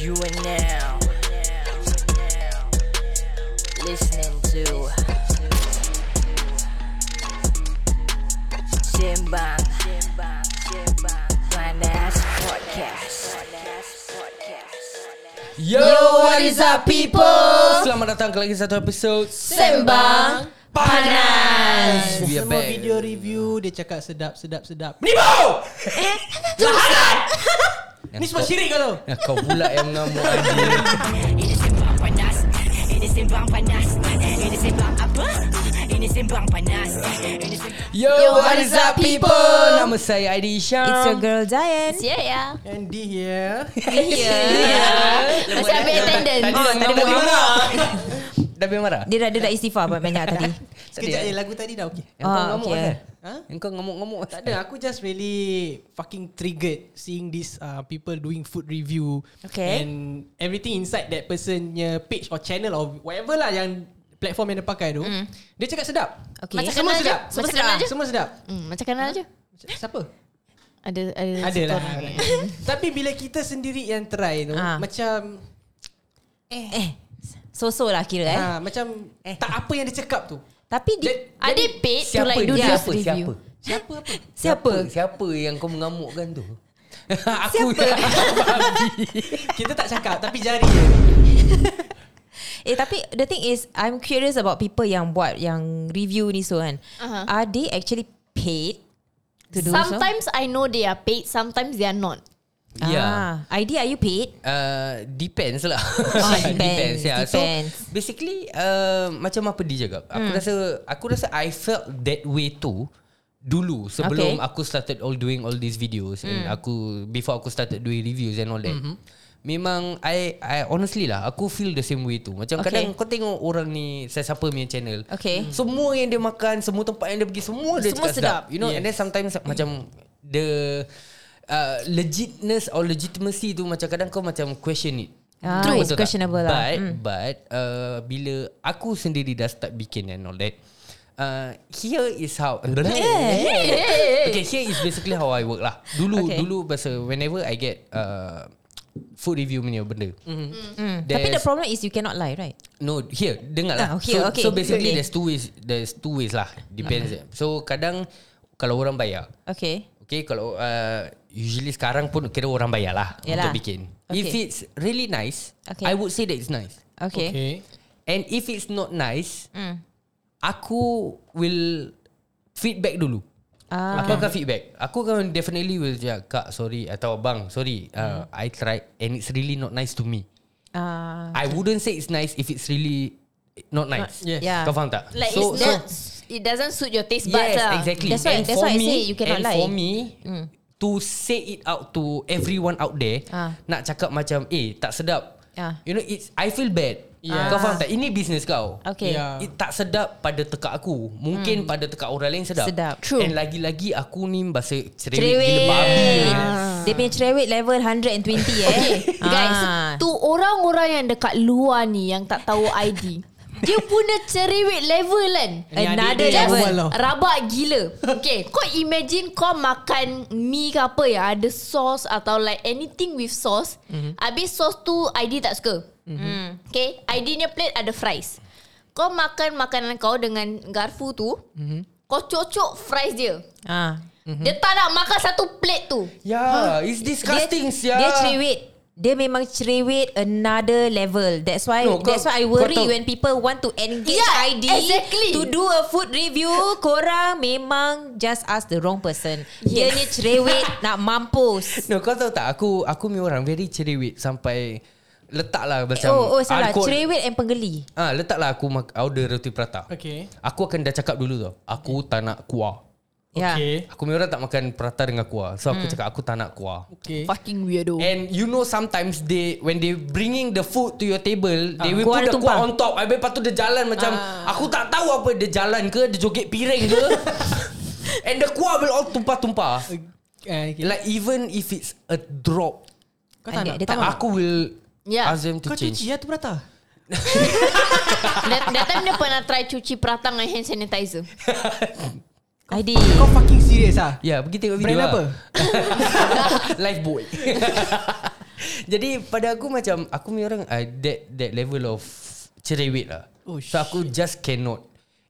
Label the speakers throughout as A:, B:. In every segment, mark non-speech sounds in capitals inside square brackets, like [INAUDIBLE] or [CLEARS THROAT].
A: You are now listening to Simbang Finance Podcast.
B: Yo,
C: what is up, people?
B: Selamat datang ke lagi satu episod
C: Sembang Panas
B: We are
D: Semua
B: back.
D: video review Dia cakap sedap sedap sedap
B: Menipu!
D: Ni semua syirik kau tu
B: Ya, kau pula yang mengamuk Haji.
E: Ini sembang panas Ini sembang panas Ini sembang apa? Ini sembang panas Ini sembang
B: Yo, what is up people? Nama saya Aidy Isham
C: It's your girl Zayan
F: Ya ya.
D: Andy here
C: [LAUGHS] Ya.
F: [LAUGHS] Masih ambil attendance.
B: Oh,
F: Oh.
B: Tadi dah tadi dah marah Dah biar marah?
C: Dia dah, dia dah istighfar banyak
B: [LAUGHS]
C: tadi
B: Tadi
D: Sekejap
B: eh?
D: je lagu tadi dah okay
B: Yang kau
C: Ah,
B: ngamuk
C: okay.
B: kan?
D: Ha?
B: Yang kau ngamuk-ngamuk
D: Tak ada aku just really Fucking triggered Seeing these uh, people doing food review
C: Okay.
D: And everything inside that personnya page or channel Or whatever lah yang Platform yang dia pakai tu Dia cakap sedap
C: Okay.
F: Macam
D: Semua
F: kenal je.
D: sedap
F: Semua
D: Macam- ah,
F: sedap. je.
D: Semua sedap
F: Hmm, macam kenal je.
D: Siapa?
F: Ada ada
D: Ada lah
F: satu orang.
D: [LAUGHS] Tapi bila kita sendiri yang try tu
C: Ah.
D: Macam
C: Eh So-so lah kira eh
D: ah, Macam Tak apa yang dia cakap tu
C: Tapi di,
D: Dia-
F: Ada paid to
B: Siapa
F: like do
B: dia?
F: this
B: Siapa?
F: review.
B: Siapa?
D: Siapa apa?
C: [LAUGHS] siapa?
B: Siapa yang kau mengamukkan tu? [LAUGHS] Aku
C: Siapa?
F: [LAUGHS]
D: Kita tak cakap Tapi jari je
C: Eh tapi the thing is I'm curious about people yang buat yang review ni so kan
F: Aha.
C: Are they actually paid to do so?
F: Uh-huh. Sometimes I know they are paid, sometimes they are not.
B: Ya.
C: Ah, ID are you paid?
B: Uh, depends lah
C: Oh,
B: [LAUGHS]
C: depends,
B: yeah.
C: depends. Hmm.
B: So basically uh, Macam apa dia cakap Aku rasa Aku rasa I felt that way too Dulu Sebelum
C: Okay. Hmm.
B: aku started all Doing all these videos And aku Before aku started doing reviews And all that
C: Mm-hmm.
B: Memang I, I honestly lah Aku feel the same way too Macam
C: Okay.
B: kadang kau tengok orang ni Siapa punya channel
C: Okay. Mm.
B: Semua yang dia makan Semua tempat yang dia pergi Semua dia
C: Semua
B: cakap
C: Mm.
B: sedap. You know And then sometimes Macam The uh, Legitness Or legitimacy tu Macam kadang kau macam Question it
C: Ah,
B: Betul
C: it's
B: tak?
C: questionable lah.
B: But, but uh, Bila Aku sendiri dah start bikin And all that Uh, here is how Okay here is basically how I work lah Dulu
C: Okay.
B: okay. Dulu pasal Whenever I get uh, Food review punya benda mm.
C: Tapi the problem is you cannot lie right?
B: No here Dengar lah
C: Ah, okay,
B: so,
C: okay.
B: so basically
C: Okay.
B: There's two ways There's two ways lah Depends mm. So kadang Kalau orang bayar
C: Okay
B: Okay kalau uh, Usually sekarang pun Kira orang bayar lah
C: Yalah.
B: Untuk bikin
C: Okay.
B: If it's really nice
C: Okay.
B: I would say that it's nice
C: Okay, okay.
B: And if it's not nice
C: Mm.
B: Aku Will Feedback dulu
C: Ah.
B: Aku akan feedback Aku akan definitely will cakap Kak sorry Atau bang sorry uh,
C: Hmm.
B: I tried And it's really not nice to me
C: Ah,
B: I wouldn't say it's nice If it's really Not nice
D: Yes.
C: Yeah.
B: Kau faham tak?
F: Like it's not it doesn't suit your taste buds
B: Yes,
F: lah.
B: exactly.
C: That's why-
B: and
C: that's
B: for
C: why I
B: me,
C: say you cannot
B: and
C: lie.
B: for me, mm. to say it out to everyone out there,
C: Ah.
B: nak cakap macam, eh, tak sedap.
C: Ah.
B: You know, it's I feel bad.
D: Yes.
B: Kau faham tak? Ini bisnes kau.
C: Okay
D: Yeah.
C: Hmm.
B: It tak sedap pada tekak aku Mungkin pada tekak orang lain sedap
C: Sedap.
F: True.
B: And lagi-lagi aku ni Bahasa cerewet,
C: Cerewet Ah.
B: gila babi ni.
C: Dia punya cerewet level 120 eh [LAUGHS]
F: Guys,
C: Ah.
F: tu orang-orang yang dekat luar ni yang tak tahu ID. Dia punya cerewet level kan.
D: Ni
C: Another
D: adik dia
C: Eh, level. lah.
D: awal tau.
F: Rabak gila Okay Kau imagine kau makan Mi ke apa yang Ada sauce Atau like anything with sauce
C: Mhm.
F: mm-hmm. Habis sauce tu ID tak suka mm-hmm. Okay ID ni plate ada fries Kau makan makanan kau Dengan garfu tu
C: Mhm.
F: mm-hmm. Kau cocok fries dia
C: ah.
F: mm-hmm. Dia tak nak makan satu plate tu
B: Yeah, it's disgusting
C: dia,
B: sia.
C: dia cerewet dia memang cerewet another level. That's why no,
B: No, kau-
C: that's why I worry
B: kau tahu-
C: when people want to engage
F: Yeah,
C: ID
F: exactly.
C: to do a food review, korang memang just ask the wrong person. Dia
F: Yes.
C: ni [LAUGHS] cerewet nak mampus.
B: No, kau tahu tak? Aku aku ni orang very cerewet sampai letaklah macam
C: Oh, oh salah.
B: alkohol-
C: Cerewet and penggeli.
B: Ah, letaklah aku mak- order roti prata.
D: Okay
B: Aku akan dah cakap dulu tau. Aku tak nak kuah.
C: Yeah.
D: Okay
B: Aku memang tak makan prata dengan kuah. So
C: Hmm.
B: aku cakap aku tak nak kuah.
D: Okay
F: Fucking
C: Oh.
F: weirdo
B: And you know sometimes they when they bringing the food to your table, they will
C: Ah. Kuah
B: put
C: dia
B: the kuah
C: tumpang. Ah.
B: on top. Habis lepas tu dia jalan macam aku tak tahu apa dia jalan ke, dia joget piring
C: [LAUGHS]
B: ke. And the kuah will all tumpah-tumpah.
D: Eh, okay.
B: Like even if it's a drop,
D: Kau tak
C: Adik
D: nak
C: dia
D: tak
C: tak
D: nak
B: aku will
F: Yeah.
B: ask them to
D: Ah. Kau
B: change.
D: cuci lah tu prata
F: [LAUGHS] that, that time dia pernah try cuci peratang Dengan hand sanitizer
C: ID.
D: Kau fucking serious
B: lah.
D: ah
B: [LAUGHS] Ya, pergi tengok video
D: Brand
B: lah.
D: apa
B: Lifebuoy. [LAUGHS] Jadi pada aku macam Aku punya orang uh, That that level of Cerewet lah
D: Oh,
B: So aku just cannot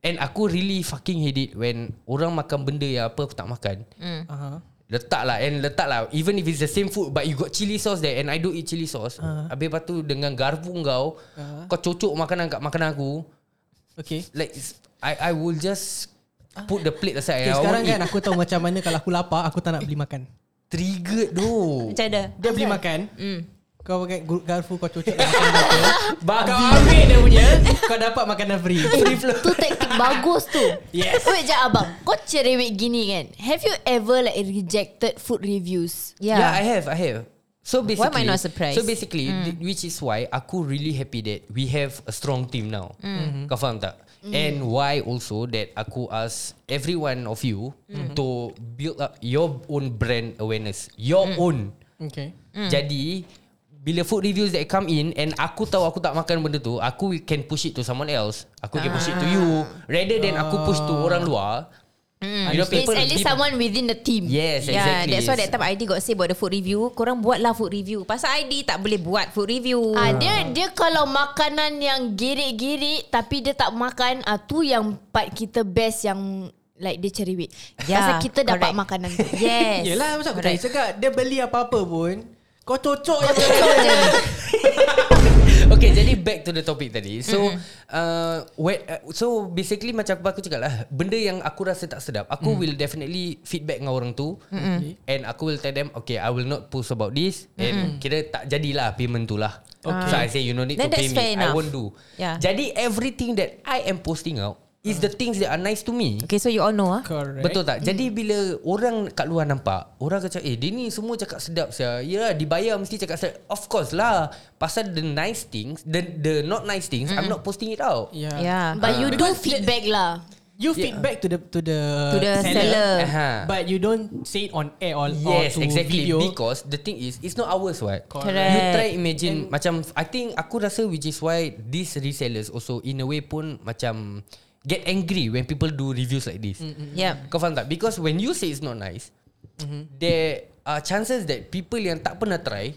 B: And aku really fucking hate it When orang makan benda yang apa aku tak makan mm.
D: Uh-huh.
B: Letak lah And letak lah Even if it's the same food But you got chili sauce there And I don't eat chili sauce uh.
D: Uh-huh.
B: Habis lepas tu Dengan garpu kau uh. Kau cocok makanan kat makanan aku
D: Okay
B: Like it's- I I will just
D: Ah.
B: Put the plate aside and
D: Okay,
B: I
D: sekarang
B: won't
D: kan
B: eat.
D: aku tahu macam mana kalau aku lapar aku tak nak beli makan.
B: Triggered though
C: Macam ada
D: Dia beli makan.
C: Hmm.
D: Kau pakai gu- garfu kau cucuk dalam makanan tu. Kau
B: Babi
D: ambil dia punya, kau dapat makanan free. Free flow.
F: Tu taktik bagus tu
D: Yes.
F: Wait jap abang Kau cerewet gini kan Have you ever like Rejected food reviews
C: Yeah,
B: Yeah, I have, I have. So basically,
C: ya. am I not surprised? Hmm.
B: So basically, th- which is why aku really happy that we have a strong team now.
C: Hmm.
B: Kau faham tak? And why also that aku ask every one of you
C: Hmm.
B: to build up your own brand awareness, your
C: Hmm.
B: own.
D: Okay.
B: Jadi bila food reviews that come in and aku tahu aku tak makan benda tu, aku can push it to someone else. Aku can push it to you rather than aku push to orang luar.
C: Ah.
B: You know,
C: Hmm.
F: It's at least someone within the team
B: Yes, exactly.
C: Yeah, that's why that time ID got say about the food review. Korang buatlah food review. Pasal ID tak boleh buat food review.
F: Ah, dia dia kalau makanan yang girik-girik tapi dia tak makan, ah tu yang part kita best yang like dia cerewet.
C: Yeah,
F: Pasal kita dapat
C: correct.
F: makanan
C: [LAUGHS]
F: tu.
C: Yes.
D: Yelah masa aku tanya
C: Correct.
D: cakap dia beli apa-apa pun kau cocok je.
B: Okay jadi back to the topic tadi So
C: Mm-hmm.
B: mm. uh, wet, uh, So basically macam apa aku cakap lah Benda yang aku rasa tak sedap Aku mm. will definitely feedback dengan orang tu
C: Mm-hmm.
B: mm And aku will tell them Okay I will not post about this And kira tak jadilah payment tu lah okay. So I say you no need
C: Mm-hmm. Then
B: to pay
C: that's
B: me
C: fair
B: I
C: enough.
B: won't do
C: Yeah.
B: Jadi everything that I am posting out Is the things that are nice to me
C: Okay, so you all know ah.
D: Correct. Hmm.
B: Betul tak? Jadi bila orang kat luar nampak, orang akan cakap, eh dia ni semua cakap sedap saya. Ya, dibayar mesti cakap sedap. Of course lah. Pasal the nice things, the the not nice things, I'm not posting it out.
D: Hmm. Yeah.
C: Yeah.
F: But you
C: Uh-huh.
F: do
D: Because
F: feedback lah.
D: You feedback to the to the
C: To the seller.
B: Aha.
D: but you don't say it on air
B: Ha.
D: or,
B: Yes,
D: or to
B: exactly.
D: video.
B: Because the thing is, it's not ours, what?
D: Correct.
B: You try imagine And macam I think aku rasa which is why these resellers also in a way pun macam get angry when people do reviews like this.
C: Yep.
B: Kau faham tak? Because when you say it's not nice, mm-hmm. there are chances that people yang tak pernah try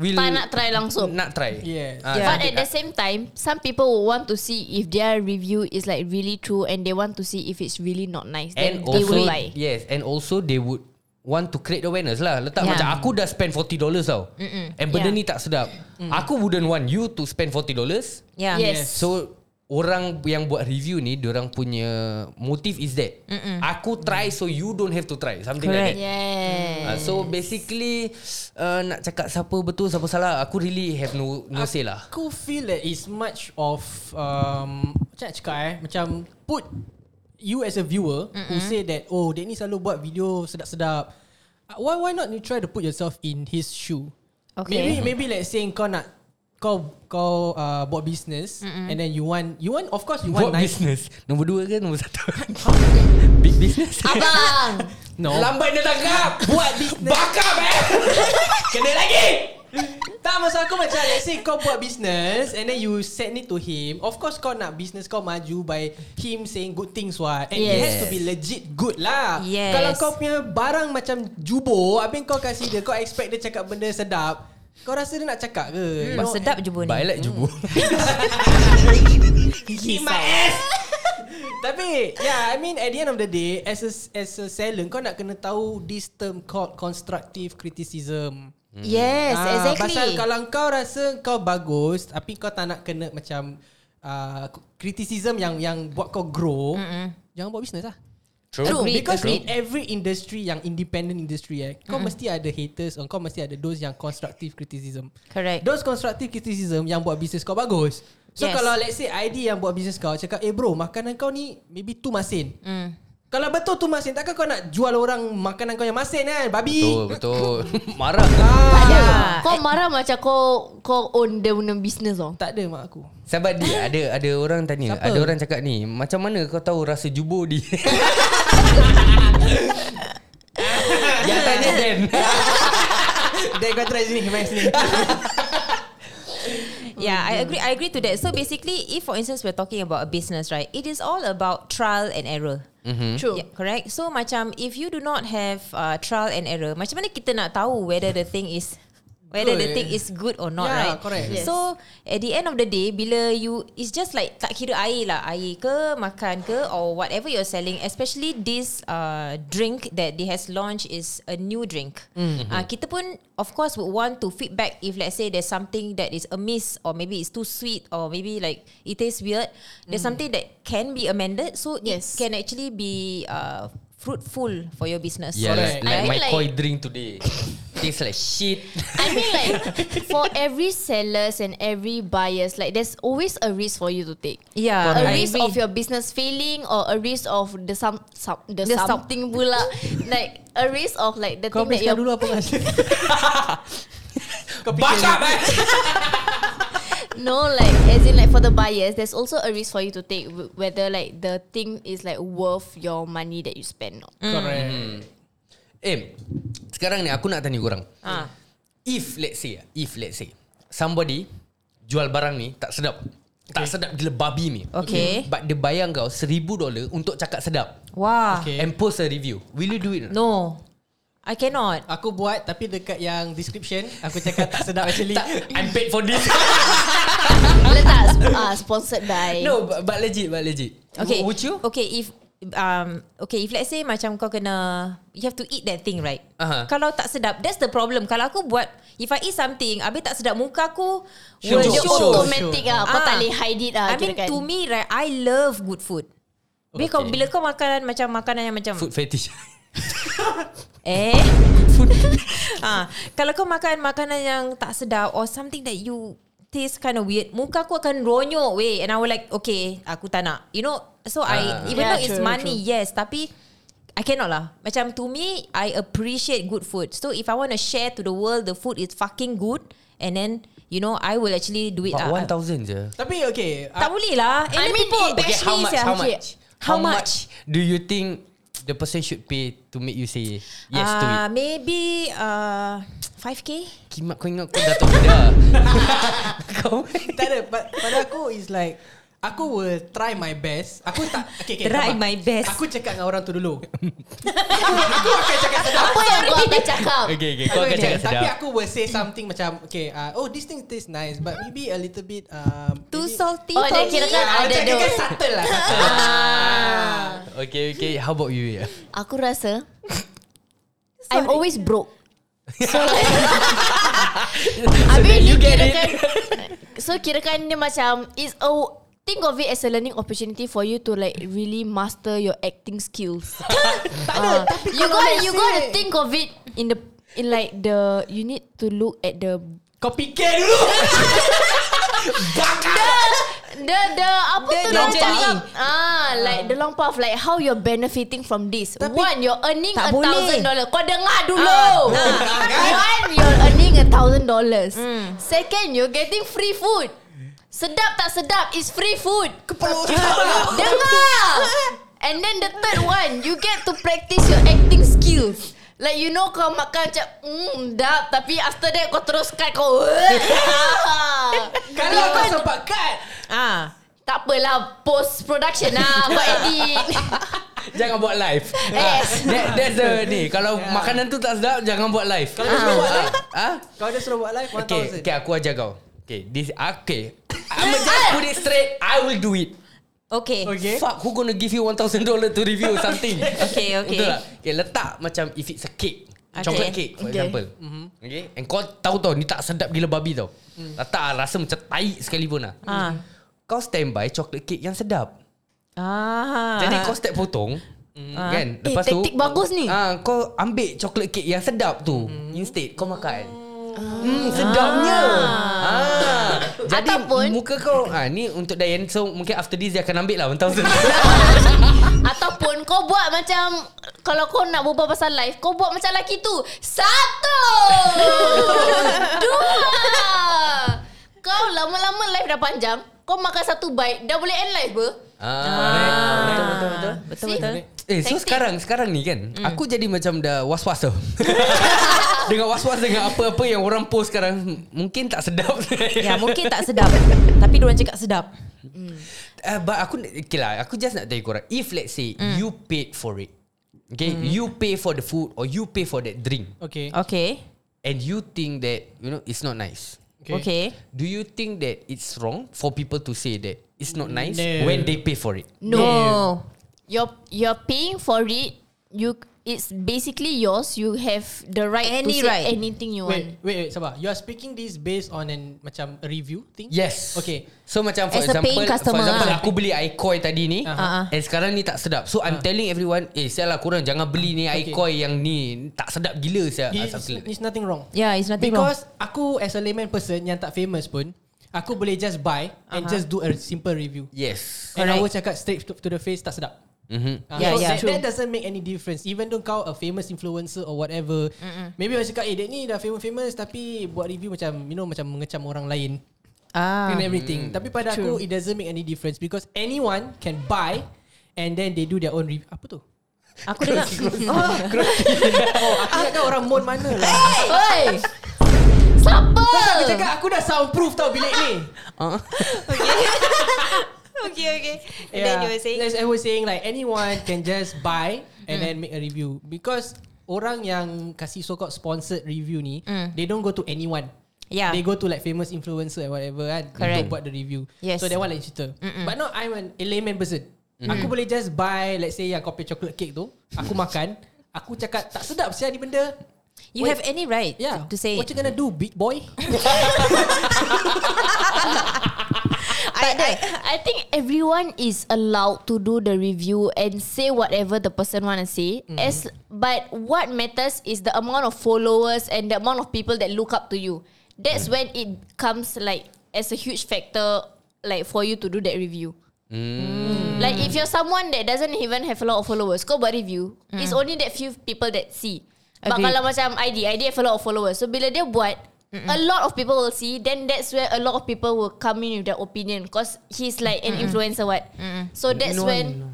B: will
F: Tak nak try langsung.
B: Nak try.
D: Yes.
B: Ah,
F: But
B: so
F: at the
B: that-
F: same time, some people will want to see if their review is like really true and they want to see if it's really not nice.
B: and
F: Then they
B: also
F: will lie.
B: yes, and also they would want to create awareness lah. Letak
F: Yeah.
B: macam aku dah spend $40 tau. Mm-mm. And benda
F: Yeah.
B: ni tak sedap. Aku wouldn't want you to spend $40
C: Yeah.
F: Yes.
B: So orang yang buat review ni orang punya motive is that Mm-mm. aku try so you don't have to try something
C: Correct.
B: like that.
F: Yeah.
B: Uh, so basically uh, nak cakap siapa betul siapa salah aku really have no no say lah.
D: Aku feel that it's much of um, Macam nak cakap eh Macam put You as a viewer mm-hmm. Who say that Oh dia ni selalu buat video sedap-sedap Uh, Why why not you try to put yourself in his shoe
F: Okay.
D: Maybe maybe let's say kau nak Kau kau uh, buat business mm-hmm. And then you want You want of course you
B: Buat
D: want nice
B: business nombor dua ke nombor satu? [LAUGHS] Big business. [LAUGHS]
F: Abang.
D: No
B: Lambat dia tangkap. buat business. Bakar
D: [LAUGHS]
B: eh. Kena lagi.
D: Tak masa aku macam Let's say kau buat business And then you send it to him Of course kau nak business kau maju By him saying good things what And yes. it
F: Yes.
D: has to be legit good lah
C: Yes.
D: Kalau kau punya barang macam jubur Habis kau kasih dia Kau expect dia cakap benda sedap Kau rasa dia nak cakap ke hmm,
C: Wah, sedap je bun
B: Baiklah jubur.
D: Eat my ass [LAUGHS] Tapi Yeah I mean at the end of the day As a, as a seller Kau nak kena tahu This term called Constructive criticism
F: Mm. Yes,
D: Ah,
F: exactly.
D: Pasal kalau kau rasa kau bagus tapi kau tak nak kena macam uh, criticism yang yang buat kau grow, mm-hmm. jangan buat business lah.
B: True.
D: Because
B: True.
D: in every industry yang independent industry eh, kau mesti ada haters and kau mesti ada those yang constructive criticism.
C: Correct.
D: Those constructive criticism yang buat bisnes kau bagus. So yes.
C: Yes.
D: kalau let's say ID yang buat bisnes kau cakap, "Eh bro, makanan kau ni maybe tu masin." Mm. Kalau betul tu masin, takkan kau nak jual orang makanan kau yang masin kan, babi?
B: [LAUGHS] Betul betul. Marah.
D: Ah,
F: Ya.
C: Ah.
F: Kau marah macam kau kau own dia punya business tau.
D: tak ada mak aku.
B: Sahabat dia ada ada orang tanya,
D: Siapa?
B: Siapa? ada orang cakap ni, macam mana kau tahu rasa jubur [LAUGHS] dia? Yang tanya [LAUGHS] Dan.
D: Dan kau try sini Main sini
C: Yeah, I agree. I agree to that. So basically, if for instance we're talking about a business, right? It is all about trial and error.
B: Hmm.
F: True.
C: Yeah, correct. So macam if you do not have uh, trial and error, macam mana kita nak tahu whether the thing is whether the
D: Betul.
C: thing is good or not,
D: Yeah,
C: right?
D: correct.
F: Yes.
C: So at the end of the day, bila you it's just like tak kira air lah, air ke makan ke or whatever you're selling, especially this uh, drink that they has launched is a new drink. Mm-hmm. Uh, kita pun of course would want to feedback if let's say there's something that is amiss or maybe it's too sweet or maybe like it tastes weird. There's something that can be amended, so it
F: Yes.
C: can actually be uh, fruitful for your business.
B: Yeah, like,
D: Correct.
B: like
F: I
B: my
F: mean, like-
B: koi drink today. Tastes like shit.
F: I mean like for every sellers and every buyers like there's always a risk for you to take.
C: Yeah,
F: a
C: I
F: risk
C: agree.
F: of your business failing or a risk of the some, some the,
C: The some-
F: something pula like a risk of like the
D: Kau
F: thing
D: habiskan
F: that you're
D: dulu apa kan
C: [LAUGHS]
D: Kau
B: Bash up, [LAUGHS] eh!
F: No, like as in like for the buyers, there's also a risk for you to take w- whether like the thing is like worth your money that you spend. or not.
C: Mm.
D: Correct
B: Eh, sekarang ni aku nak tanya korang.
C: Ah.
B: If let's say, eh, if let's say, somebody jual barang ni tak sedap. Tak sedap gila babi ni.
C: Okay.
B: But dia bayar kau seribu dolar untuk cakap sedap.
C: Wah.
D: Okay.
B: And post a review. Will you do it? or not?
C: No. I cannot.
D: Aku buat tapi dekat yang description Aku cakap tak sedap actually
B: Tak, I'm paid for this.
C: Mm.
F: Letak uh, sponsored by.
B: [LAUGHS] no, but, but legit, but legit.
C: Okay.
B: W- Would you?
C: Okay, if um okay, if let's say macam kau kena you have to eat that thing, right?
B: Aha.
C: Kalau tak sedap, that's the problem. Kalau aku buat if I eat something, habis tak sedap muka aku,
F: Dia
B: Sure. Sure.
C: will show.
F: automatic ah, kau
C: Ah.
F: tak boleh hide it ah.
C: I mean
F: kirakan.
C: to me right, I love good food. Bila kau bila kau makanan macam makanan yang macam
B: Food fetish.
C: eh [LAUGHS] ah, kalau kau makan makanan yang tak sedap or something that you taste kind of weird, muka aku akan ronyok weh and I will like okay, aku tak nak. You know, so I
B: Ah.
C: even
F: Yeah,
C: though it's
F: true,
C: money, yes, tapi I cannot lah. Macam to me, I appreciate good food. So if I want to share to the world the food is fucking good and then you know, I will actually do it.
B: But
C: lah.
B: 1,000 je.
D: Tapi okay
C: tak
D: ah,
C: boleh lah. And
F: I
C: then
F: mean,
C: people
F: it-
C: bash
B: Okay, how
C: me
B: much?
C: sia.
B: How much?
C: How much?
B: do you think the person should pay to make you say yes to
C: Ah,
B: it?
C: Maybe uh, 5k.
B: Kimak kau ingat kau Dato' Muda.
C: [LAUGHS]
B: kau
D: [LAUGHS] Tak ada pa- Pada aku is like Aku will try my best Aku tak okay, okay,
C: Try
D: sabar.
C: my best.
D: Aku cakap dengan orang tu dulu
F: apa
C: [LAUGHS]
F: yang kau akan cakap?
B: Okay, okay. Kau akan
D: Okay,
B: cakap
D: eh, Tapi
B: sedap.
D: aku will say something macam Okay uh, Oh this thing tastes nice But maybe a little bit um,
C: Too
D: maybe-
C: salty
F: Oh,
C: for
F: dia
C: me.
F: kira kan
D: Ah,
F: ada
D: Macam dia
F: doh.
D: kan subtle lah subtle.
B: Ah. Okay, okay. How about you? Ya?
F: Aku rasa I'm always broke.
B: [LAUGHS]
F: So like
B: So
F: Habis
B: then
F: you
B: you get it.
F: kirakan So kirakan dia macam It's a Think of it as a learning opportunity for you to like really master your acting skills.
B: [LAUGHS]
F: Ah, you got you got to think of it in the in like the you need to look at the
D: Kau [LAUGHS] fikir dulu
F: the the apa
C: The-
F: tu
C: the
F: long
C: journey.
F: path ah like the long path like how you're benefiting from this
D: Tapi-
F: one you're earning a
C: Tak boleh.
F: thousand dollar kau dengar dulu
C: Ah,
F: [LAUGHS] one you're earning a thousand dollars second you're getting free food sedap tak sedap is free food dengar and then the third one you get to practice your acting skills Like you know kau makan macam mm, Dap Tapi after that kau terus cut kau [LAUGHS]
D: Kalau kau kan. sempat cut
C: Ah,
F: Tak apalah post production lah
C: [LAUGHS]
F: kau edit.
B: Jangan buat
D: [LAUGHS]
B: live.
D: Eh.
F: Yes.
B: Ah, That, that's the ni. Kalau makanan tu tak sedap, jangan buat live.
D: Kalau dia suruh buat live
B: Ah,
D: Kau ada suruh buat live 1000
B: okay, okay. Aku ajar kau. Okay, this ah,
D: [LAUGHS]
B: okay. I'm just put it straight. I will do it.
C: okay.
D: Okay.
B: Fuck, who gonna give you $1,000 to review something?
C: Okay, okay.
B: Betul tak? Okay, letak macam if it's a cake.
C: Okay.
B: Okay. Chocolate cake for
F: Okay.
B: example. Mm-hmm. Okay. And kau tahu tau ni tak sedap gila babi tau. Mm. Letak ah, rasa macam tai sekali pun lah.
C: Ah.
B: Kau standby chocolate cake yang sedap.
C: Ah.
B: Jadi kau step potong. Kan?
F: Eh, taktik bagus ni.
C: Ha?
B: Ah, kau ambil chocolate cake yang sedap tu. Instead kau makan. Hmm, sedapnya. Ah. Jadi
F: Ataupun-
B: muka kau ah ni untuk Diane so mungkin after this dia akan ambil lah 1000.
F: Ataupun kau buat macam kalau kau nak berbual pasal live, kau buat macam lelaki tu.
C: [LAUGHS]
F: Satu. dua. Kau lama-lama live dah panjang, kau makan satu bite dah boleh end live ber.
B: ah. Betul betul betul.
C: betul
F: See?
C: betul.
B: Eh so
F: Taktik.
B: sekarang Sekarang ni kan mm. Aku jadi macam dah was-was tau [LAUGHS] Dengan was-was dengan apa-apa Yang orang post sekarang M- Mungkin tak sedap
C: Ya
B: [LAUGHS]
C: mungkin tak sedap Tapi diorang cakap sedap
B: uh, But aku Okay lah Aku just nak tanya korang If let's say mm. You
C: Oh,
B: paid for it Okay mm. You pay for the food Or you pay for that drink
D: Okay
C: Okay
B: and you think that you know it's not nice.
C: Okay. okay.
B: Do you think that it's wrong for people to say that it's not nice
D: No.
B: when they pay for it?
F: No. You're you're paying for it. You it's basically yours. You have the right
C: Any
F: to say
C: right.
F: anything you
D: Wait,
F: want.
D: wait, wait, sabar. You are speaking this based on an macam a review thing?
B: Yes.
D: Okay.
B: So macam for
F: As a
B: example,
F: paying customer Ah.
B: for example
F: lah.
B: aku beli air koi tadi ni uh-huh. and sekarang ni tak sedap. So I'm telling everyone, eh sial lah korang jangan beli ni air
D: Okay.
B: koi yang ni tak sedap gila sial. Ah,
D: It's,
B: something like that.
D: it's nothing wrong.
C: Yeah, Ya, it's nothing wrong.
D: Because aku as a layman person yang tak famous pun, aku boleh just buy and just do a simple review.
B: Yes.
D: And I
C: Correct.
D: will cakap straight to, to the face tak sedap.
B: Mhm.
D: Uh,
C: Yeah,
D: so
C: yeah.
D: That, that doesn't make any difference. Even though kau a famous influencer or whatever, Mm-mm. maybe orang cakap, eh, dia ni dah famous-famous tapi buat review macam, you know, macam mengecam orang lain
C: Ah.
D: and everything. Tapi pada
C: True.
D: aku, it doesn't make any difference because anyone can buy and then they do their own review. Apa tu?
C: Aku
D: [LAUGHS]
C: dengar.
D: Oh,
C: oh, Ah.
D: aku cakap orang mon mana lah.
C: [LAUGHS]
F: Oi. Siapa?
D: Aku cakap aku dah soundproof tau bilik ni.
C: Oh, okay, okay. And then you were saying. Hmm.
D: As I was saying like anyone can just buy and then make a review because orang yang kasih so called sponsored review ni, they don't go to anyone.
C: Hmm. Yeah.
D: They go to like famous influencer and whatever kan Untuk
C: Correct.
D: buat the review
C: Yes. Mm.
D: So that one like cerita But now I'm an a layman person Aku boleh just buy Let's say yang kopi chocolate cake tu
C: [LAUGHS]
D: Aku makan Aku cakap tak sedap siapa ni benda
C: You
D: Wait.
C: have any right
D: Yeah
C: to say
D: What
C: it.
D: you gonna do big
C: [LAUGHS]
D: boy
F: But I, I think everyone is allowed to do the review and say whatever the person want to say. As but what matters is the amount of followers and the amount of people that look up to you. That's when it comes like as a huge factor, like for you to do that review. Like if you're someone that doesn't even have a lot of followers, go buat review. It's only that few people that see. But
C: Agreed.
F: kalau macam ID, ID have a lot of followers. So bila dia buat, a lot of people will see. Then that's where a lot of people will come in with their opinion. Cause he's like an influencer what. So that's
B: No,
F: when.
B: no.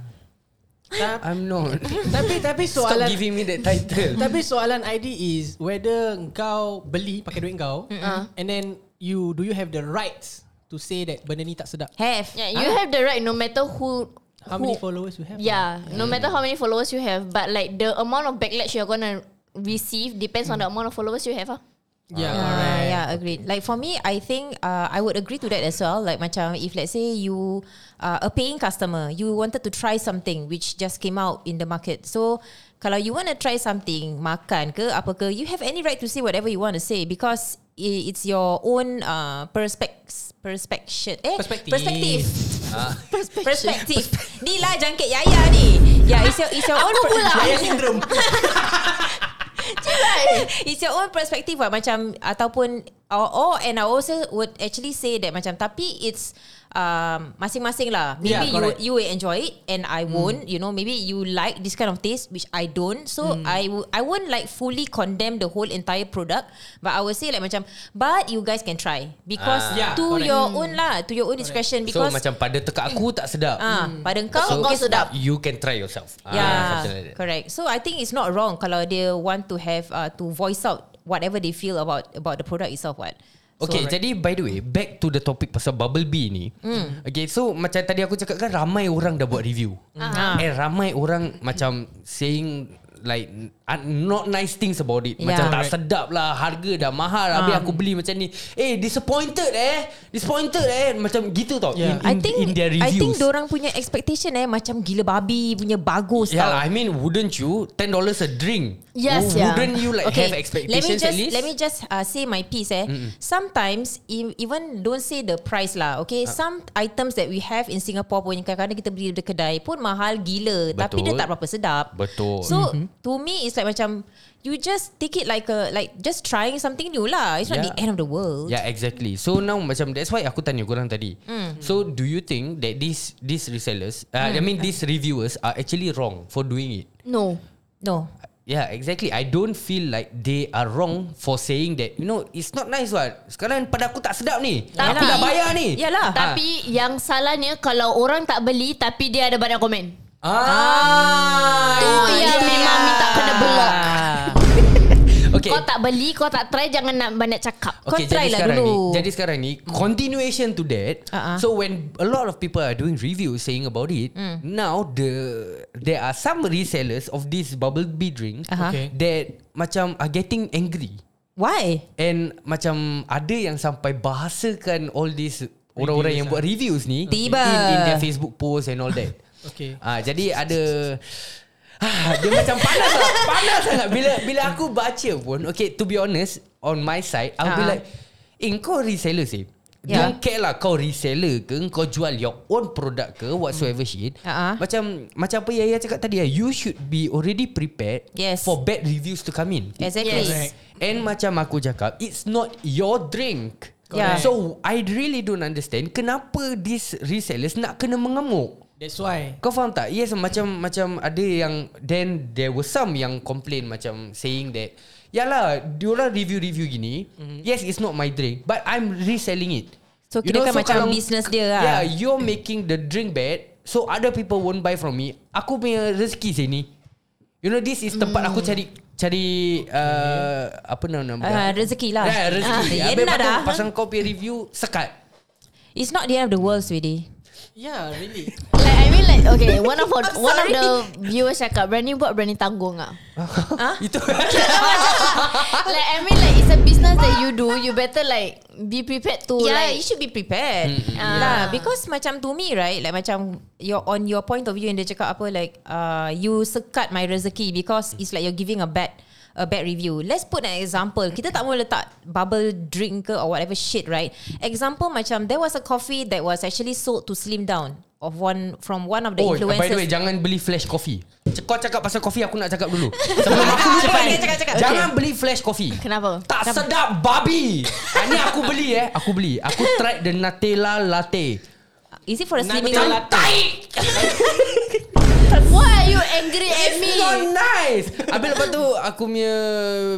B: I'm
F: [LAUGHS]
B: not.
D: Tapi tapi
B: Stop
D: soalan
B: giving me that title.
D: Tapi soalan ID is whether kau beli pakai duit kau and then you do you have the rights to say that benda ni tak sedap.
C: Have.
F: Yeah, you have the right no matter who.
D: How many
F: who-
D: followers you have?
F: Yeah, no matter how many followers you have, but like the amount of backlash you're gonna receive depends on the amount of followers you have. Ah.
D: Yeah,
C: Yeah,
D: correct.
C: yeah, agreed. Like for me, I think uh, I would agree to that as well. Like macam if let's say you uh, a paying customer, you wanted to try something which just came out in the market. So kalau you want to try something, makan ke apa ke, you have any right to say whatever you want to say because i- it's your own uh, perspective. Perspective. Eh?
D: Perspective.
C: Perspective. Perspective. Ni lah jangkit Yaya ni. Yeah, it's your, it's your own per-
D: Saya
C: [LAUGHS]
D: syndrome.
C: It's your own perspective what Macam Ataupun or, or, And I also Would actually say that Macam tapi it's um, Masing-masing lah
D: Yeah,
C: Maybe
D: correct. Hmm.
C: you You will enjoy it And I won't You know maybe you like This kind of taste Which I don't So
D: Hmm.
C: I I w- I won't like Fully condemn the whole Entire product But I will say like macam But you guys can try Because
D: Ah. Yeah,
C: To
D: correct.
C: your own lah To your own discretion
B: So
C: Because
B: macam pada tekak aku tak sedap.
C: Ah, pada engkau
B: Hmm. So,
C: mungkin sedap.
B: You can try yourself. Ah,
C: Yeah,
B: something like that.
C: correct. So I think it's not wrong kalau dia want to have uh, to voice out whatever they feel about about the product itself. What?
B: Okay, so,
C: so,
B: jadi by the way, back to the topic pasal bubble bee ni. Mm. Okay, so macam tadi aku cakap kan ramai orang dah buat review.
C: Ah.
B: And ramai orang macam saying like uh, not nice things about it.
C: Yeah.
B: Macam tak
D: Correct.
B: sedap lah, harga dah mahal. Habis
C: Ah.
B: aku beli macam ni. Eh, disappointed eh. Disappointed eh. Macam gitu tau. In,
D: Yeah.
B: in,
C: I think
B: in their
C: I
B: reviews.
C: think orang punya expectation eh macam gila babi punya bagus
B: Yeah,
C: tau.
B: I mean, wouldn't you ten dollars a drink?
F: Yes,
B: Wou-
F: yeah.
B: Wouldn't you like have
C: let me
B: expectations
C: just
B: at least?
C: let me just uh, say my piece eh. Sometimes e- even don't say the price lah. Okay,
B: Ah.
C: some items that we have in Singapore pun yang kadang-kadang kita beli dari kedai pun mahal gila tapi dia
B: Betul.
C: tak berapa sedap.
B: Betul.
C: So
F: Mhm.
C: to me it's like macam you just take it like a like just trying something new lah. It's not
B: Yeah.
C: the end of the world.
B: Yeah exactly So now macam That's why aku tanya korang tadi mm. So do you think That these These resellers uh, I mean these reviewers Are actually wrong For doing it
F: No.
C: No.
B: Yeah exactly I don't feel like They are wrong For saying that You know It's not nice what Sekarang pada aku tak sedap ni
F: Tapi-
B: Aku dah bayar ni Ah.
C: Yalah.
F: Tapi yang salahnya kalau orang tak beli tapi dia ada banyak komen.
B: Ah,
F: Tu
C: Oh,
B: itu
F: yang
B: dia.
F: memang minta kena block.
B: Okay
F: Kau tak beli, kau tak try, jangan nak banyak cakap.
C: Kau try
B: jadi
C: lah
B: sekarang
C: dulu. Mm.
B: Ni, jadi sekarang ni continuation to that.
C: Ah, ah.
B: So when a lot of people are doing reviews saying about it,
C: Mm.
B: now the there are some resellers of this bubble bee drink
C: Aha.
D: Okay.
B: that macam are getting angry.
C: Why?
B: And macam ada yang sampai bahasakan all these orang-orang yang buat reviews
D: Reviews lah.
B: ni
C: Tiba.
B: in, in their Facebook post and all that.
C: [LAUGHS]
D: Okay.
B: Ah jadi ada ah, dia macam panas lah, panas sangat bila bila aku baca pun. Okay, to be honest, on my side, I'll be
C: Ah.
B: like, "Eh, kau reseller sih."
C: Yeah.
B: Yeah. Don't care lah kau reseller ke Kau jual your own product ke Whatsoever shit
C: Ah, ah.
B: Macam Macam apa Yaya cakap tadi lah You should be already prepared
C: Yes.
B: For bad reviews to come in
C: Exactly.
D: Correct.
B: And macam aku cakap It's not your drink
C: Yeah.
B: So I really don't understand Kenapa these resellers Nak kena mengamuk
D: That's why.
B: kau faham tak? Yes, macam macam ada yang then there were some yang complain macam saying that Yalah, diorang review-review gini. Mm-hmm. Yes, it's not my drink, but I'm reselling it.
C: Mhm. So, kirakan macam business dia lah.
B: Yeah, you're making the drink bad, so other people won't buy from me. Aku punya rezeki sini. You know, this is tempat aku cari cari uh, apa nama nama
C: Hmm. Ah, rezeki lah.
B: Yeah, rezeki. Ah,
C: Ah, yelah dah.
B: pasang kau punya review sekat.
C: It's not the end of the world, sweetie.
D: Yeah, really.
F: Like I mean like Okay one [LAUGHS] of our,
C: I'm
F: One of
C: sorry.
F: the viewers cakap Berani buat berani tanggung [LAUGHS] ah.
B: Itu kan?
F: like I mean like It's a business that you do You better like Be prepared to
C: Yeah,
F: like
C: you should be prepared. Mm-hmm.
F: Ah.
C: Lah, because macam to me right, like macam your on your point of view and dia cakap apa like uh, you sekat my rezeki because it's like you're giving a bad a bad review. Let's put an example. Kita tak mau letak bubble drink ke or whatever shit, right? Example macam there was a coffee that was actually sold to Slim Down of one from one of the
B: Oh,
C: influencers.
B: by the way, jangan beli flash coffee. C- Kau cakap pasal coffee, aku nak cakap
C: [LAUGHS]
B: dulu. Sebelum aku lupa
C: Cepat,
B: ni.
C: cakap, cakap.
B: Jangan beli flash coffee.
F: Kenapa?
B: Tak sedap babi. Ah, Ni aku beli eh. Aku beli. Aku try the Nutella latte.
C: Is it for a slimming?
D: Nutella
C: one?
D: latte.
F: Why are you angry at
B: It's
F: me
B: not nice. Habis lepas tu aku punya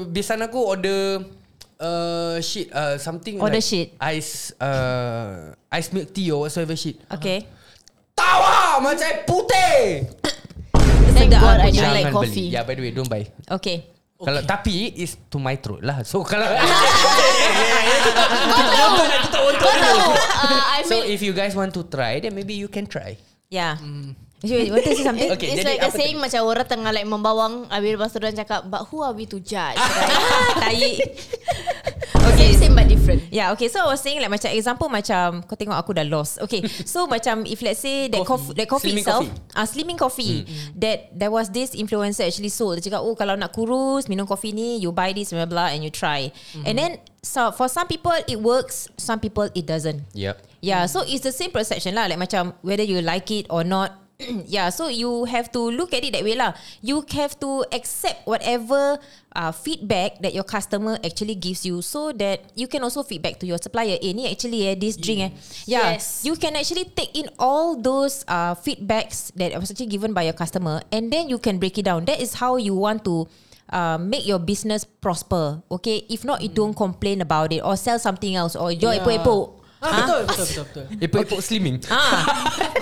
B: biasan aku order uh, shit uh, something
C: Order
B: like
C: shit.
B: ice uh, ice milk tea or whatsoever shit.
C: Okay.
B: Tawa macam air putih.
F: Thank
C: Sedap aku
F: God I don't
C: cakap.
F: like
B: Jangan
F: coffee
B: Beli. Yeah, by the way, don't buy.
C: Okay.
B: Okay. Kalau tapi is to my throat lah. So [LAUGHS] kalau
F: Kau tahu Kau tahu [LAUGHS] uh, I
B: so
F: mean
B: if you guys want to try, then maybe you can try.
C: Yeah. You want to say
F: [LAUGHS]
C: something?
F: It,
B: Okay,
F: okay, it's
B: jadi
F: like a
B: apa
F: saying macam orang tengah like membawang Habis lepas tu orang cakap But who are we to [LAUGHS] judge?
C: Ah, Tai.
F: okay. Same, same but different
C: [LAUGHS] Yeah, okay. So I was saying like macam example macam kau tengok aku dah lost.
B: [LAUGHS]
C: Okay. So macam if let's say that
D: Coffee.
C: coffee, that coffee
B: Slimming
C: itself,
B: coffee. Hmm.
C: ah uh, slimming coffee that there was this influencer actually sold. Dia cakap, "Oh, kalau nak kurus, minum coffee ni, you buy this blah blah and you try."
B: Hmm.
C: And then so for some people it works, some people it doesn't.
B: Yep.
C: Yeah, so it's the same perception lah. Like macam whether you like it or not. [CLEARS THROAT] yeah, so you have to look at it that way lah. You have to accept whatever uh, feedback that your customer actually gives you, so that you can also feedback to your supplier. Eh, ni actually eh, this drink eh. Yeah,
F: Yes.
C: you can actually take in all those uh, feedbacks that was actually given by your customer, and then you can break it down. That is how you want to. Uh, make your business prosper Okay If not you don't
F: Hmm.
C: complain about it Or sell something else Or you're
D: Yeah.
C: epo-epo
D: Ah, betul, betul, betul, betul.
B: Epok-epok slimming.
C: Ah,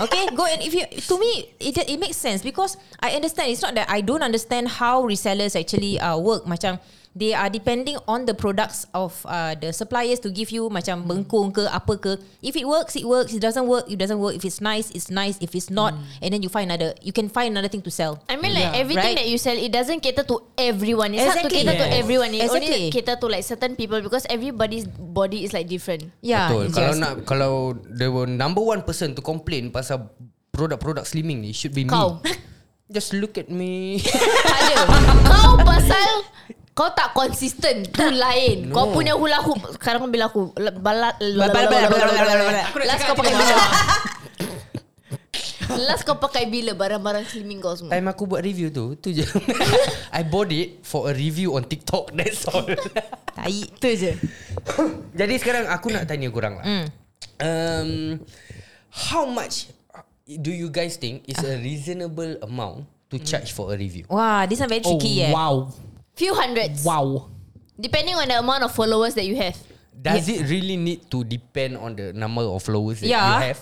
C: okay. Go and if you to me it it makes sense because I understand it's not that I don't understand how resellers actually uh, work. Macam they are depending on the products of uh, the suppliers to give you macam bengkung ke apa ke. If it works, it works. It doesn't work, it doesn't work. If it's nice, it's nice. If it's not, and then you find another. You can find another thing to sell.
F: I mean like
D: Yeah.
F: everything
C: Right.
F: that you sell it doesn't cater to everyone. It's
C: Exactly.
F: hard to cater to
D: Yes.
F: everyone. It
C: Exactly.
F: only cater to like certain people because everybody's body is like different.
C: Yeah.
B: Betul.
C: it's
B: Kalau
C: just-
B: nak kalau the number one person to complain pasal produk-produk slimming ni should be
D: [LAUGHS]
F: Kau.
B: me. Just look at me. [LAUGHS]
F: tak ada. Kau pasal kau tak konsisten tu lain. Kau punya hula hoop sekarang kau bilang aku la- bala-
C: bala- bala- bala- bala- bala- bala- bala.
D: Aku nak
F: last
D: cakap
F: kau pakai
D: tiga
F: bila. [LAUGHS] Last kau pakai bila barang-barang slimming kau semua.
B: Time aku buat review tu, tu je. [LAUGHS] I bought it for a review on TikTok. That's all. [LAUGHS]
C: Tai. Tu je.
B: Jadi sekarang aku nak tanya korang lah.
C: Hmm.
B: Mm. Um, how much do you guys think is a reasonable amount to charge for a review?
C: Wah, this one very
D: Oh,
C: [LAUGHS] tricky eh.
D: wow.
F: Few hundreds.
D: Wow.
F: Depending on the amount of followers that you have.
B: Does it really need to depend on the number of followers that
C: Yeah.
B: you have?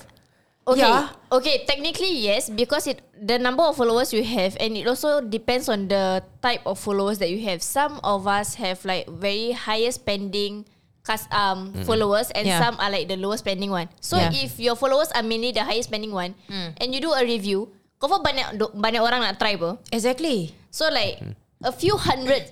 F: Okay.
C: Yeah.
F: Okay, technically yes because it the number of followers you have and it also depends on the type of followers that you have. Some of us have like very highest spending cus- um followers and
C: Yeah.
F: some are like the lowest spending one. So
C: Yeah. Mm.
F: if your followers are mainly the highest spending one and you do a review, confirm banyak do- banyak orang nak try apa.
B: Mm.
C: Exactly.
F: So like a few hundred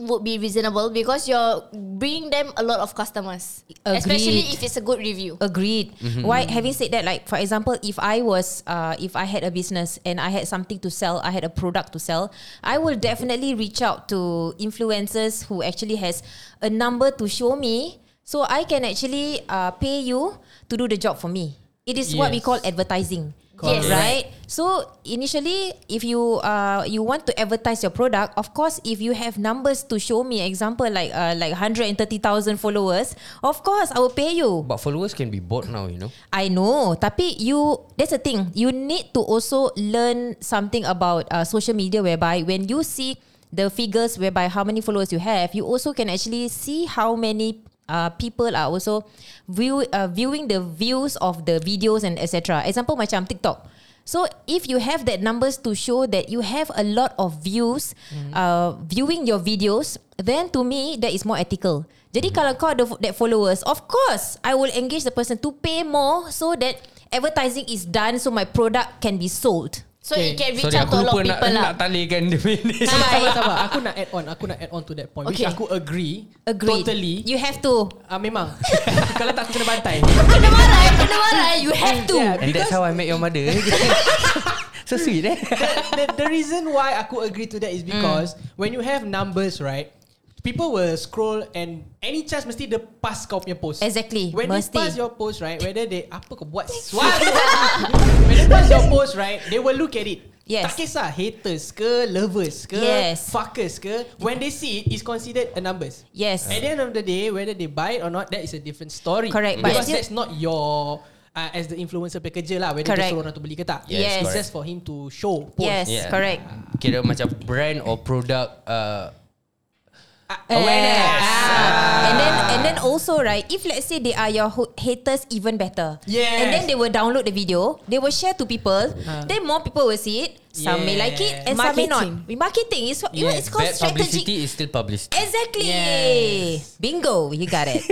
F: would be reasonable because you're bringing them a lot of customers,
C: Agreed.
F: especially if it's a good review.
C: Agreed.
D: Mm-hmm.
C: Why? Having said that, like for example, if I was, uh, if I had a business and I had something to sell, I had a product to sell, I will definitely reach out to influencers who actually has a number to show me, so I can actually uh, pay you to do the job for me. It is what we
D: Yes.
C: call advertising.
D: Correct.
C: Yes, right. So initially, if you uh you want to advertise your product, of course, if you have numbers to show me, example like uh like hundred and thirty thousand followers, of course I will pay you.
B: But followers can be bought now, you know.
C: I know Tapi you That's the thing You need to also Learn something about uh, Social media whereby When you see The figures whereby How many followers you have You also can actually See how many uh, People are also view uh, Viewing the views Of the videos and etc Example macam TikTok So if you have that numbers to show that you have a lot of views
D: Hmm.
C: uh, viewing your videos, then to me that is more ethical. Jadi
D: Hmm.
C: kalau kau ada fo- that followers, of course I will engage the person to pay more so that advertising is done so my product can be sold.
F: So it
D: Okay.
F: can reach out to a lot
B: nak,
F: of people lah.
B: nak talikan dia
C: [LAUGHS]
B: ni.
D: Sabar, sabar. Aku nak add on. Aku nak add on to that point. Which
F: Okay.
D: aku agree.
C: Agreed.
D: Totally.
C: You have to.
D: Ah
C: [LAUGHS]
D: memang. Kalau tak aku kena bantai.
F: Kena marah, eh, kena marah. You
D: [LAUGHS]
F: have to.
D: Yeah.
B: And that's how I met your
C: [LAUGHS]
B: mother. [LAUGHS] eh. so sweet eh.
D: the, the reason why aku agree to that is
C: Hmm.
D: because when you have numbers, right? People will scroll and any chance mesti dia pass kau punya post.
C: Exactly,
D: When
C: mesti.
D: they pass your post, right? Whether they apa kau buat suara. [LAUGHS] when they pass your post, right? They will look at it.
C: Yes.
D: Tak kisah haters ke lovers ke
C: Yes.
D: fuckers ke when they see it is considered a numbers.
C: Yes.
D: At the end of the day, whether they buy it or not, that is a different story.
C: Correct, but
D: Because
C: still-
D: that's not your uh, as the influencer pekerja lah, whether dia
C: Correct.
D: suruh orang tu beli ke tak.
B: Yes, Yes.
D: It's
B: correct.
D: just for him to show. Post.
C: Yes,
B: Yeah.
C: correct.
B: Kira macam brand or product uh,
C: Awareness. And then and then also right, if let's say they are your ho- haters, even better.
D: Yes.
C: And then they will download the video, they will share to people. Then more people will see it. Some may
D: Yeah.
C: like it, and some may not. Marketing is what you know,
D: Yes.
C: it's called
B: bad
C: strategic.
B: publicity is still publicity.
C: Exactly.
D: Yes.
C: Bingo, you got it.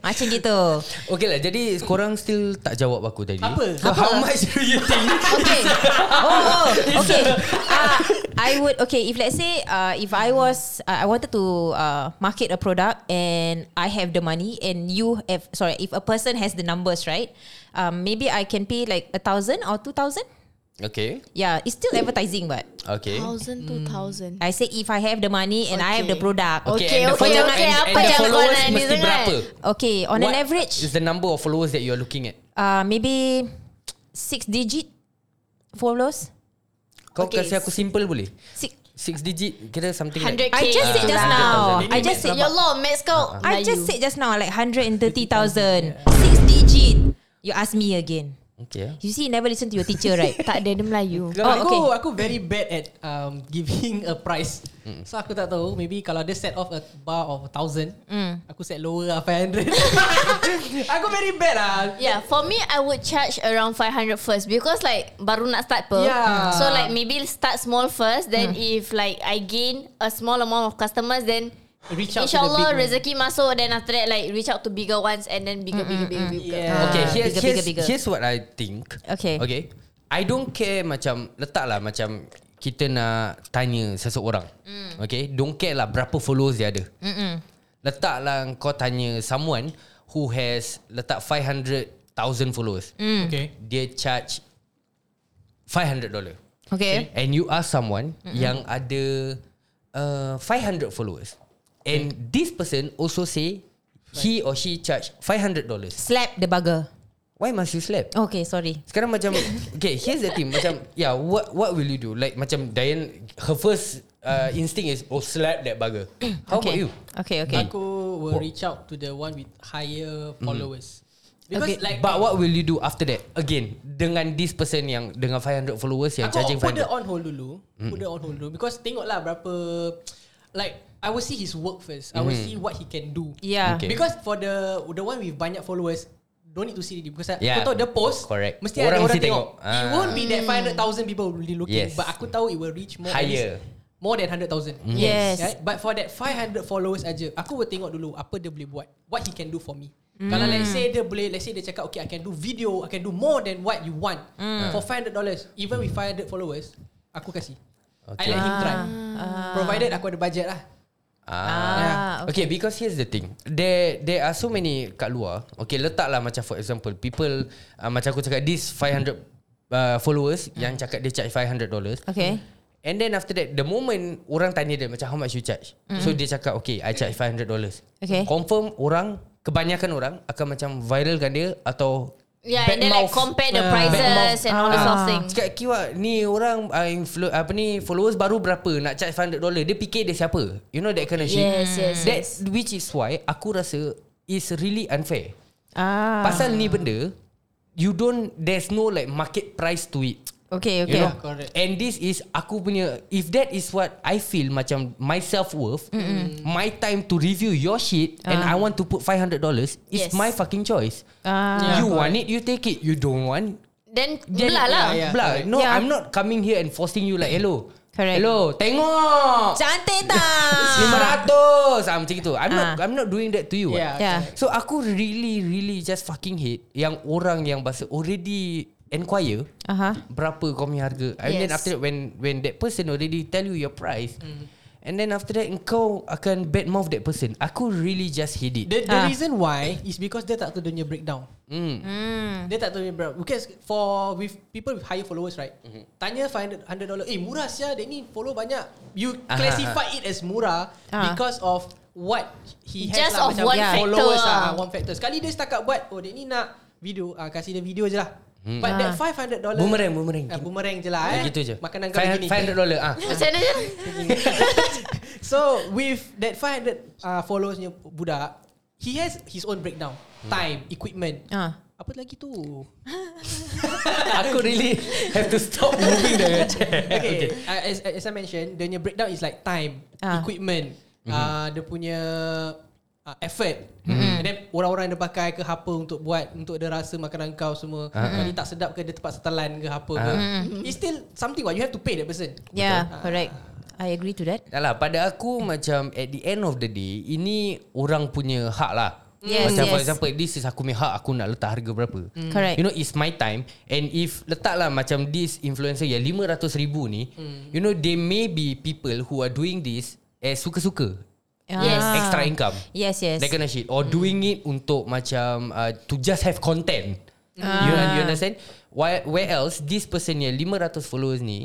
C: Macam gitu.
B: Okay lah Jadi korang still tak jawab aku tadi
D: Apa?
B: So [LAUGHS] how much do you think
C: Okay. Oh, oh [LAUGHS] okay. Uh, I would okay if let's say uh, if I was uh, I wanted to uh, market a product and I have the money and you have sorry if a person has the numbers right, um, maybe I can pay like a thousand or two thousand.
B: Okay
C: Yeah, it's still advertising, but
B: Okay
D: Hmm.
F: Thousand, two thousand.
C: I say if I have the money and I have the
F: Okay.
C: product.
F: Okay,
B: and the
F: okay,
B: follower- and-
F: okay. Apa
B: and the
F: yang kau
B: followers
F: nak kan?
B: mesti
F: dengar?
B: berapa?
C: Okay, on an
B: What
C: average,
B: is the number of followers that you are looking at?
C: uh, maybe six digit followers.
B: Kau
F: Okay.
B: kasih aku simple boleh?
C: Six.
B: Six digit kira something
F: 100K.
B: like
C: I just said just
F: lah.
C: now.
B: Ini
C: I just said
F: Your law, Max kau.
D: Ah,
C: I just
F: Melayu.
C: said just now like 130,000 Six digit You ask me again
B: Okay
C: You see you never listen to your teacher right
F: Tak ada, dia Melayu.
D: Kalau
C: Oh,
D: aku
C: okay.
D: aku very bad at um, giving a price. So aku tak tahu maybe kalau dia set off a bar of 1000,
C: Mm.
D: aku set lower lah 500. [LAUGHS] aku very bad lah.
F: Yeah, for me, I would charge around 500 first because like baru nak start per.
D: Yeah.
F: So like maybe start small first. Then if like I gain a small amount of customers, then
D: Reach out to the
F: insyaAllah
D: big
F: rezeki masuk. Then after that like reach out to bigger ones and then bigger, bigger, bigger, bigger.
D: Yeah.
B: Okay,
C: Ah,
B: here's,
C: bigger,
B: here's,
C: bigger, bigger.
B: here's what I think.
C: Okay.
B: Okay. I don't care macam letaklah macam kita nak tanya seseorang. Mm. Okay, don't care lah berapa followers dia ada. Mm-mm. Letaklah kau tanya someone who has letak 500,000 followers. Mm.
D: one. Okay.
B: Dia charge 500 dollar.
C: Okay
B: And you are someone mm-hmm. yang ada uh, 500 followers. And mm. this person also say he or she charge 500 dollars.
C: Slap the bugger
B: Why must you slap?
C: Okay sorry
B: Sekarang macam Okay here's the thing Macam Yeah what what will you do Like macam Diane Her first uh, instinct is Oh slap that bugger How
C: okay.
B: about you
C: Okay okay
D: Aku will reach out to the one with higher followers. Because
C: Okay.
D: like
B: But what will you do after that Again Dengan this person yang Dengan 500 followers Yang charging
D: Aku put it
B: 500
D: on hold dulu Put it on hold dulu Because tengoklah berapa Like I will see his work first I will
B: Mm-hmm.
D: see what he can do
C: Yeah.
B: Okay.
D: Because for the The one with banyak followers Don't need to see it Because
B: Yeah.
D: yeah. kau tahu the post
B: Correct.
D: Mesti
B: Orang
D: ada orang
B: mesti
D: tengok,
B: tengok. Ah.
D: It won't be that 500,000 people will be looking
B: Yes.
D: But aku tahu it will reach more at
B: Higher. Mm.
D: least More than 100,000
C: Yes.
D: right? But for that 500 followers aja Aku will tengok dulu Apa dia boleh buat What he can do for me Kalau
B: Mm.
D: let's say dia boleh Let's say dia cakap Okay I can do video I
B: Mm.
D: can do more than what you want For $500 Even with 500 followers Aku kasih I
B: Okay.
D: let him try Provided aku ada budget lah
B: Ah, okay. okay, because here's the thing. There there are so many kat luar. Okay, letaklah macam for example, people uh, macam aku cakap this 500 uh, followers mm. yang cakap dia charge 500 dollars.
C: Okay.
B: And then after that The moment Orang tanya dia Macam how much you charge mm. So dia cakap Okay I charge 500 dollars
C: Okay.
B: Confirm orang Kebanyakan orang Akan macam viralkan dia Atau
F: Yeah, and then like
B: badmouth.
F: compare
D: Ah.
F: the prices and all the sort of thing.
B: Ah. Cakap kiwa Ni orang uh, influ- Apa ni Followers baru berapa Nak charge 500 dollars Dia fikir dia siapa You know that kind of shit
F: Yes, yes,
B: That which is why Aku rasa Is really unfair
C: Ah.
B: Pasal ni benda You don't There's no like Market price to it
C: Okay,
B: You
C: okay.
B: know
D: Yeah, correct.
B: And this is Aku punya If that is what I feel Macam my self worth mm-hmm. My time to review your shit uh. And I want to put $500 It's
F: Yes.
B: my fucking choice
C: Ah.
B: You want it You take it You don't want
F: Then belah lah.
D: yeah, yeah.
B: Blah.
D: correct.
B: No
C: Yeah.
B: I'm not coming here And forcing you like Hello
C: Correct.
B: Hello Tengok
C: Cantik
B: [LAUGHS]
C: tak?
B: 500 ah, Macam gitu I'm not
C: Ah.
B: I'm not doing that to you what.
D: Yeah,
C: Yeah.
D: correct.
B: So aku really really just fucking hate yang orang yang bahasa already inquire
C: Aha.
B: berapa kau punya harga. And then
F: Yes.
B: after that when when that person already tell you your price mm.
D: Hmm.
B: and then after that kau akan badmouth that person. Aku really just hate it.
D: The, the
C: Ah.
D: reason why Is because dia tak tahu Dia punya breakdown
B: Hmm.
F: Hmm.
D: Dia tak tahu dia punya breakdown Because for With people with higher followers right
B: Mm-hmm.
D: Tanya $500 Eh murah sia Dia ni follow banyak You
B: Ah.
D: classify it as murah
C: Ah.
D: Because of What he has
F: Just
D: lah,
F: of
D: macam
F: one
D: yeah.
F: factor
D: Followers
F: ah.
D: lah One factor Sekali dia setakat buat Oh dia ni nak Video ah, Kasih dia video je lah But that
F: Ah.
D: $500
B: Hmm. Boomerang, boomerang.
D: Ah, Boomerang je lah eh.
B: Gitu je.
D: Makanan kau begini
B: $500 ah.
F: Macam mana je?
D: So with that 500 uh, followers punya budak, he has his own breakdown.
B: Hmm.
D: Time, equipment.
C: Ah.
D: Apa lagi tu?
B: [LAUGHS] aku really have to
D: [LAUGHS]
B: stop moving the chair.
D: Okay. Uh, as, as I mentioned, the breakdown is like time,
C: Ah.
D: equipment,
B: Mhm.
D: uh, dia punya uh, effort. And then orang-orang yang dia pakai ke apa untuk buat untuk dia rasa makanan kau semua.
B: Ah,
D: Kali tak sedap ke dia terpaksa telan ke apa ke.
C: Hmm.
D: It's still something what you have to pay that person.
C: Yeah, correct. I agree to that.
B: Dah lah pada aku macam at the end of the day ini orang punya hak lah.
C: Yes,
B: macam for
C: yes.
B: example this is aku punya hak aku nak letak harga berapa.
D: Hmm.
B: Mm.
C: Correct.
B: You know it's my time and if letaklah macam this influencer yang 500 ribu ni
D: Hmm.
B: mm. you know they may be people who are doing this as suka-suka.
F: Yes.
C: Ah.
B: Extra income.
C: Yes, yes. Mm.
B: That kind of shit or doing it untuk macam uh, to just have content.
C: Mm.
B: You,
C: Ah.
B: you understand? Why, where else this person yang 500 followers ni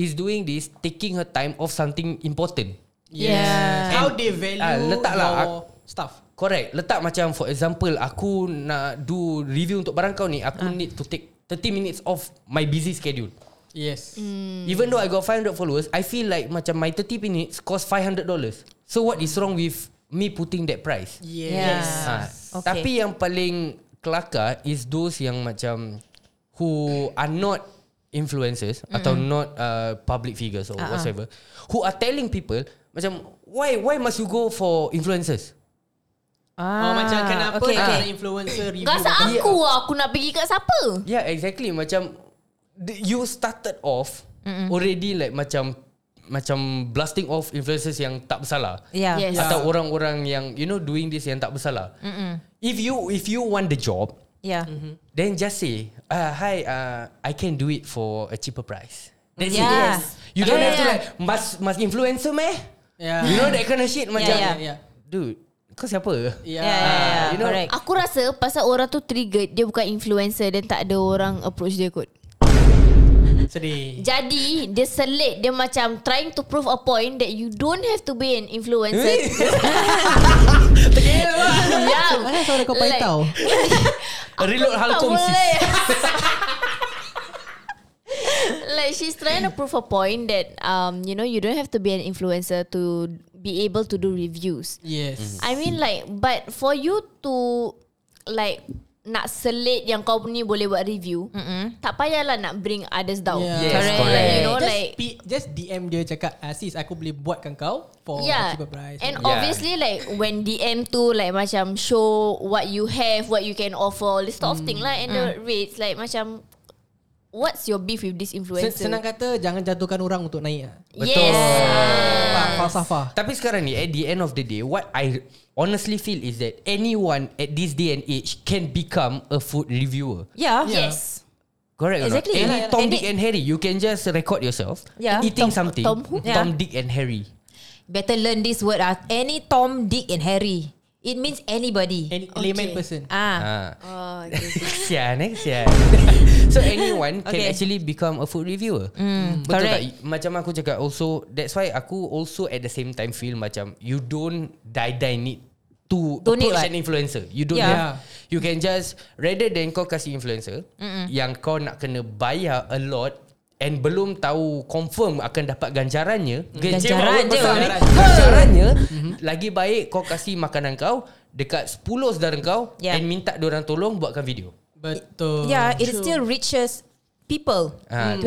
B: is doing this taking her time off something important.
C: Yeah.
D: How they value
B: Ah, letaklah
D: your
B: ak-
D: stuff.
B: Correct. Letak macam for example aku nak do review untuk barang kau ni, aku
C: Ah.
B: need to take 30 minutes off my busy schedule.
D: Yes.
C: Mm.
B: Even though I got 500 followers, I feel like macam my 30 minutes cost $500. So what is wrong with me putting that price?
D: Yes.
B: Ha.
C: Okay.
B: Okay. Tapi yang paling kelakar is those yang macam who are not influencers mm atau not uh, public figures or uh-huh. whatsoever who are telling people macam why why must you go for influencers?
D: Oh
C: Ah.
D: macam kenapa
C: Okay,
D: tak
C: okay.
D: nak influencer review
F: Kau rasa
D: macam-
F: aku lah, aku nak pergi kat siapa?
B: Yeah, exactly macam the- you started off mm already like macam macam blasting off influencers yang tak bersalah.
C: Yeah.
F: Yes.
B: Atau orang-orang yang you know doing this yang tak bersalah. Mm-mm. If you if you want the job,
C: Yeah.
B: Then just say, uh, "Hi, uh, I can do it for a cheaper price." That's it.
C: Yeah.
B: You don't
C: Yeah,
B: have to
C: yeah.
B: like must must influencer meh?
D: Yeah.
B: You know that kind of shit
D: Ya,
B: macam,
C: yeah.
D: Yeah.
B: dude, kau siapa?
D: Yeah.
C: Yeah, yeah, yeah.
B: Ah, you know,
C: correct.
F: Aku rasa pasal orang tu triggered, dia bukan influencer dan tak ada orang approach dia kot.
D: Ah, Sedih.
F: Jadi dia selit Dia macam trying to prove a point That you don't have to be an influencer
D: [LAUGHS]
F: Yang
D: suara kau
F: pahit tau?
B: Reload Halcom
F: Tak
B: sis.
F: boleh. [LAUGHS] like she's trying to prove a point that um you know you don't have to be an influencer to be able to do reviews.
D: Yes.
F: I mean like but for you to like nak selit yang kau ni boleh buat review, mm tak payahlah nak bring others down.
D: Yeah.
B: Yes, correct.
F: You know
D: Just,
F: like
D: P, just DM dia cakap ah, Sis aku boleh buatkan kau For
F: Yeah.
D: oh, cheaper price
F: And
B: Yeah.
F: obviously like when DM tu like macam show what you have, what you can offer, all this
B: Mm.
F: sort of thing lah and the rates like macam what's your beef with this
D: Sen-
F: influencer?
D: Senang kata Jangan jatuhkan orang untuk naik lah.
F: Yes.
D: Faham Falsafah
B: Tapi sekarang ni at the end of the day what I honestly feel is that anyone at this day and age can become a food reviewer.
C: Yeah.
F: Yes.
B: Correct or not?
C: Exactly.
B: Any
C: Yeah, yeah.
B: Tom,
C: And
B: Dick
C: it-
B: and Harry You can just record yourself
C: Yeah.
B: Eating
F: Tom-
B: something
F: Tom who?
B: Tom Dick and Harry
C: Better learn this word ah. Any Tom, Dick and Harry. It means anybody.
D: Any layman person.
C: ah.
B: Ah.
F: Oh,
B: [LAUGHS]
F: okay.
B: Sian eh Sian So anyone Can
C: Okay.
B: actually become A food reviewer mm, Betul
C: correct.
B: tak Macam aku cakap also That's why aku also At the same time feel Macam You don't Die-die need To
C: Don't need
B: approach
C: what?
B: an influencer You don't
C: Yeah.
B: have You can just Rather than kau kasih influencer Mm-mm. Yang kau nak kena Bayar a lot And belum tahu Confirm akan dapat ganjarannya Ganjaran
C: Ganjaran je.
B: pasal ni. Ganjarannya Lagi baik kau kasih makanan kau Dekat 10 saudara kau
C: Yeah.
B: And minta diorang tolong Buatkan video
D: Betul.
C: Yeah, it still reaches people
B: Ha,
C: Hmm, to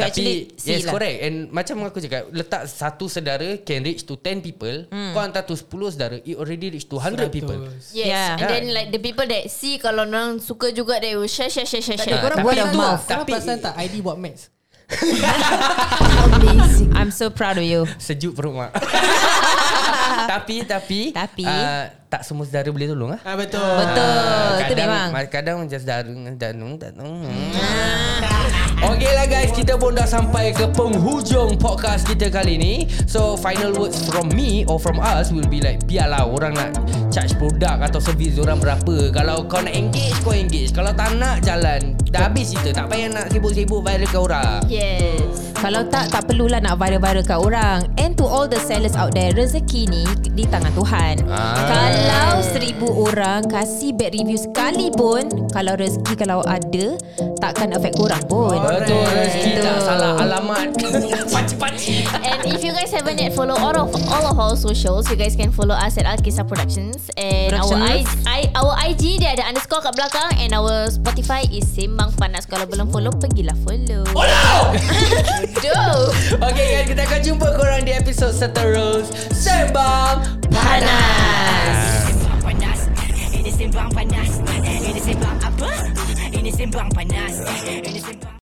B: Oh.
C: actually
B: tapi
C: see
B: yes lah.
C: lah.
B: correct and macam aku cakap letak satu saudara can reach to 10 people mm. kau hantar to 10 saudara it already reach to 100 people
F: Yes.
C: Yeah.
F: Yeah. And then like the people that see kalau orang suka juga they will share share share share.
D: Tapi
F: share.
B: Ha,
D: korang
B: tapi
D: buat
B: itu-
D: mouth.
B: tapi-
D: Tapi
B: [LAUGHS]
D: pasal tak ID buat max.
F: Amazing.
C: I'm so proud of you.
B: sejuk perut mak tapi tapi
C: Tapi.
B: ah, tak semua saudara boleh tolong lah
D: Ah betul.
C: Betul. Itu
B: Ah, kadang,
C: memang.
B: kadang macam saudara danung danung
C: Ah.
B: Okay lah guys Kita pun dah sampai ke penghujung podcast kita kali ni So final words from me or from us will be like Biarlah orang nak charge produk atau servis orang berapa Kalau kau nak engage kau engage Kalau tak nak jalan Dah habis cerita Tak payah nak sibuk-sibuk viral ke orang
F: Yes.
C: Kalau tak, tak perlulah nak viral-viralkan orang. And to all the sellers out there, rezeki ni di tangan Tuhan.
B: Ah.
C: Kalau seribu orang kasih bad review sekali pun, kalau rezeki kalau ada, takkan affect korang pun.
B: Betul rezeki tak
C: Betul.
B: salah alamat [LAUGHS] Pakcik-pakcik
F: And if you guys haven't yet follow all of all of our socials, you guys can follow us at Alkisa Productions and our I,
C: Productions.
F: I, our IG dia ada underscore kat belakang and our Spotify is Sembang Panas. Kalau belum follow, pergilah follow. Oh no! [LAUGHS] Doh.
B: Okay guys kita akan jumpa korang di episod seterus Sembang
F: Panas.
E: Sembang panas Ini sembang panas Ini sembang apa Ini sembang panas Ini sembang